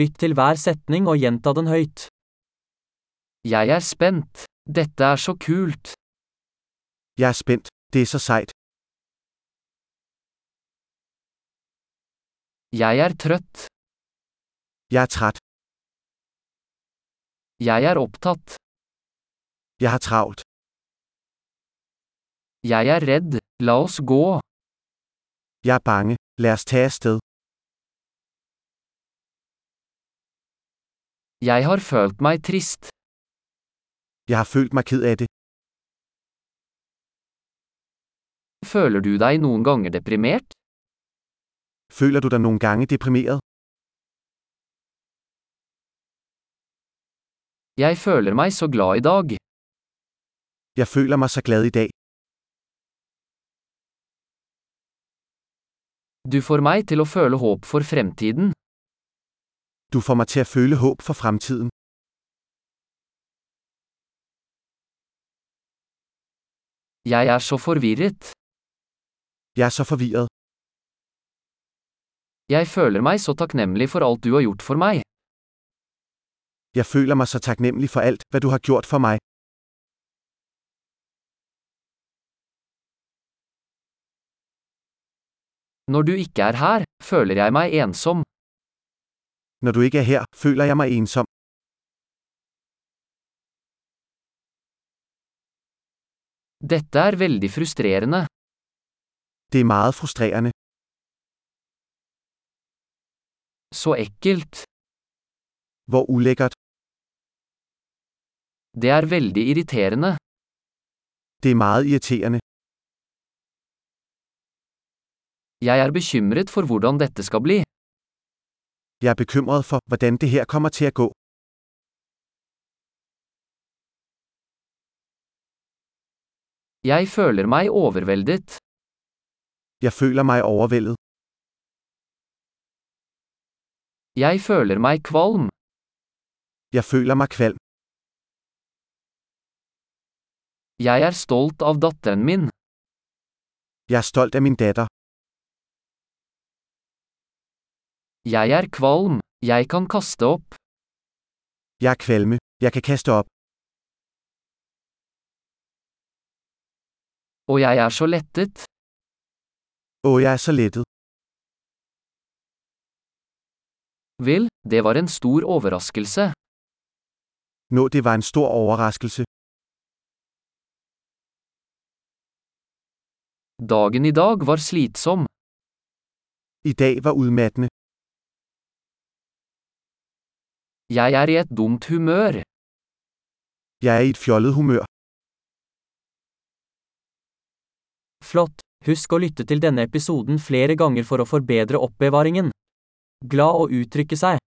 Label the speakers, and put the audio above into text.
Speaker 1: Lytt til hver setning og gjenta den høyt. Jeg er spent. Dette er så kult.
Speaker 2: Jeg er spændt. Det er så sejt.
Speaker 1: Jeg er trøtt.
Speaker 2: Jeg er træt.
Speaker 1: Jeg er opptatt.
Speaker 2: Jeg har travlt.
Speaker 1: Jeg er redd. La oss gå.
Speaker 2: Jeg er bange. Lad os tage afsted.
Speaker 1: Jeg har følt meg trist.
Speaker 2: Jeg har følt mig ked af det.
Speaker 1: Føler du deg noen ganger deprimert?
Speaker 2: Føler du dig nogle gange deprimeret?
Speaker 1: Jeg føler meg så glad i dag.
Speaker 2: Jeg føler mig så glad i dag.
Speaker 1: Du får meg til å føle håp for fremtiden.
Speaker 2: Du får mig til at føle håb for fremtiden.
Speaker 1: Jeg er så forvirret.
Speaker 2: Jeg er så forvirret.
Speaker 1: Jeg føler meg så takknemlig for alt du har gjort for meg.
Speaker 2: Jeg føler mig så taknemmelig for alt, hvad du har gjort for mig.
Speaker 1: Når du ikke er her, føler jeg meg ensom.
Speaker 2: Når du ikke er her, føler jeg mig ensom.
Speaker 1: Dette er veldig frustrerende.
Speaker 2: Det er meget frustrerende.
Speaker 1: Så ekkelt.
Speaker 2: Hvor ulækkert.
Speaker 1: Det er veldig irriterende.
Speaker 2: Det er meget irriterende.
Speaker 1: Jeg er bekymret for hvordan dette skal bli.
Speaker 2: Jeg er bekymret for, hvordan det her kommer til at gå.
Speaker 1: Jeg føler meg overveldet.
Speaker 2: Jeg føler mig overvældet.
Speaker 1: Jeg føler meg kvalm.
Speaker 2: Jeg føler mig kvalm.
Speaker 1: Jeg er stolt av datteren min.
Speaker 2: Jeg er stolt af min datter.
Speaker 1: Jeg er kvalm. Jeg kan kaste opp.
Speaker 2: Jeg er kvalme. Jeg kan kaste op.
Speaker 1: Og jeg er så lettet.
Speaker 2: Åh, jeg er så lettet.
Speaker 1: Vel, det var en stor overraskelse.
Speaker 2: Nå, det var en stor overraskelse.
Speaker 1: Dagen i dag var slitsom.
Speaker 2: I dag var udmattende.
Speaker 1: Jeg er i et dumt humør.
Speaker 2: Jeg er i et fjollet humør.
Speaker 1: Flott! Husk å lytte til denne episoden flere ganger for å forbedre oppbevaringen. Glad å uttrykke seg.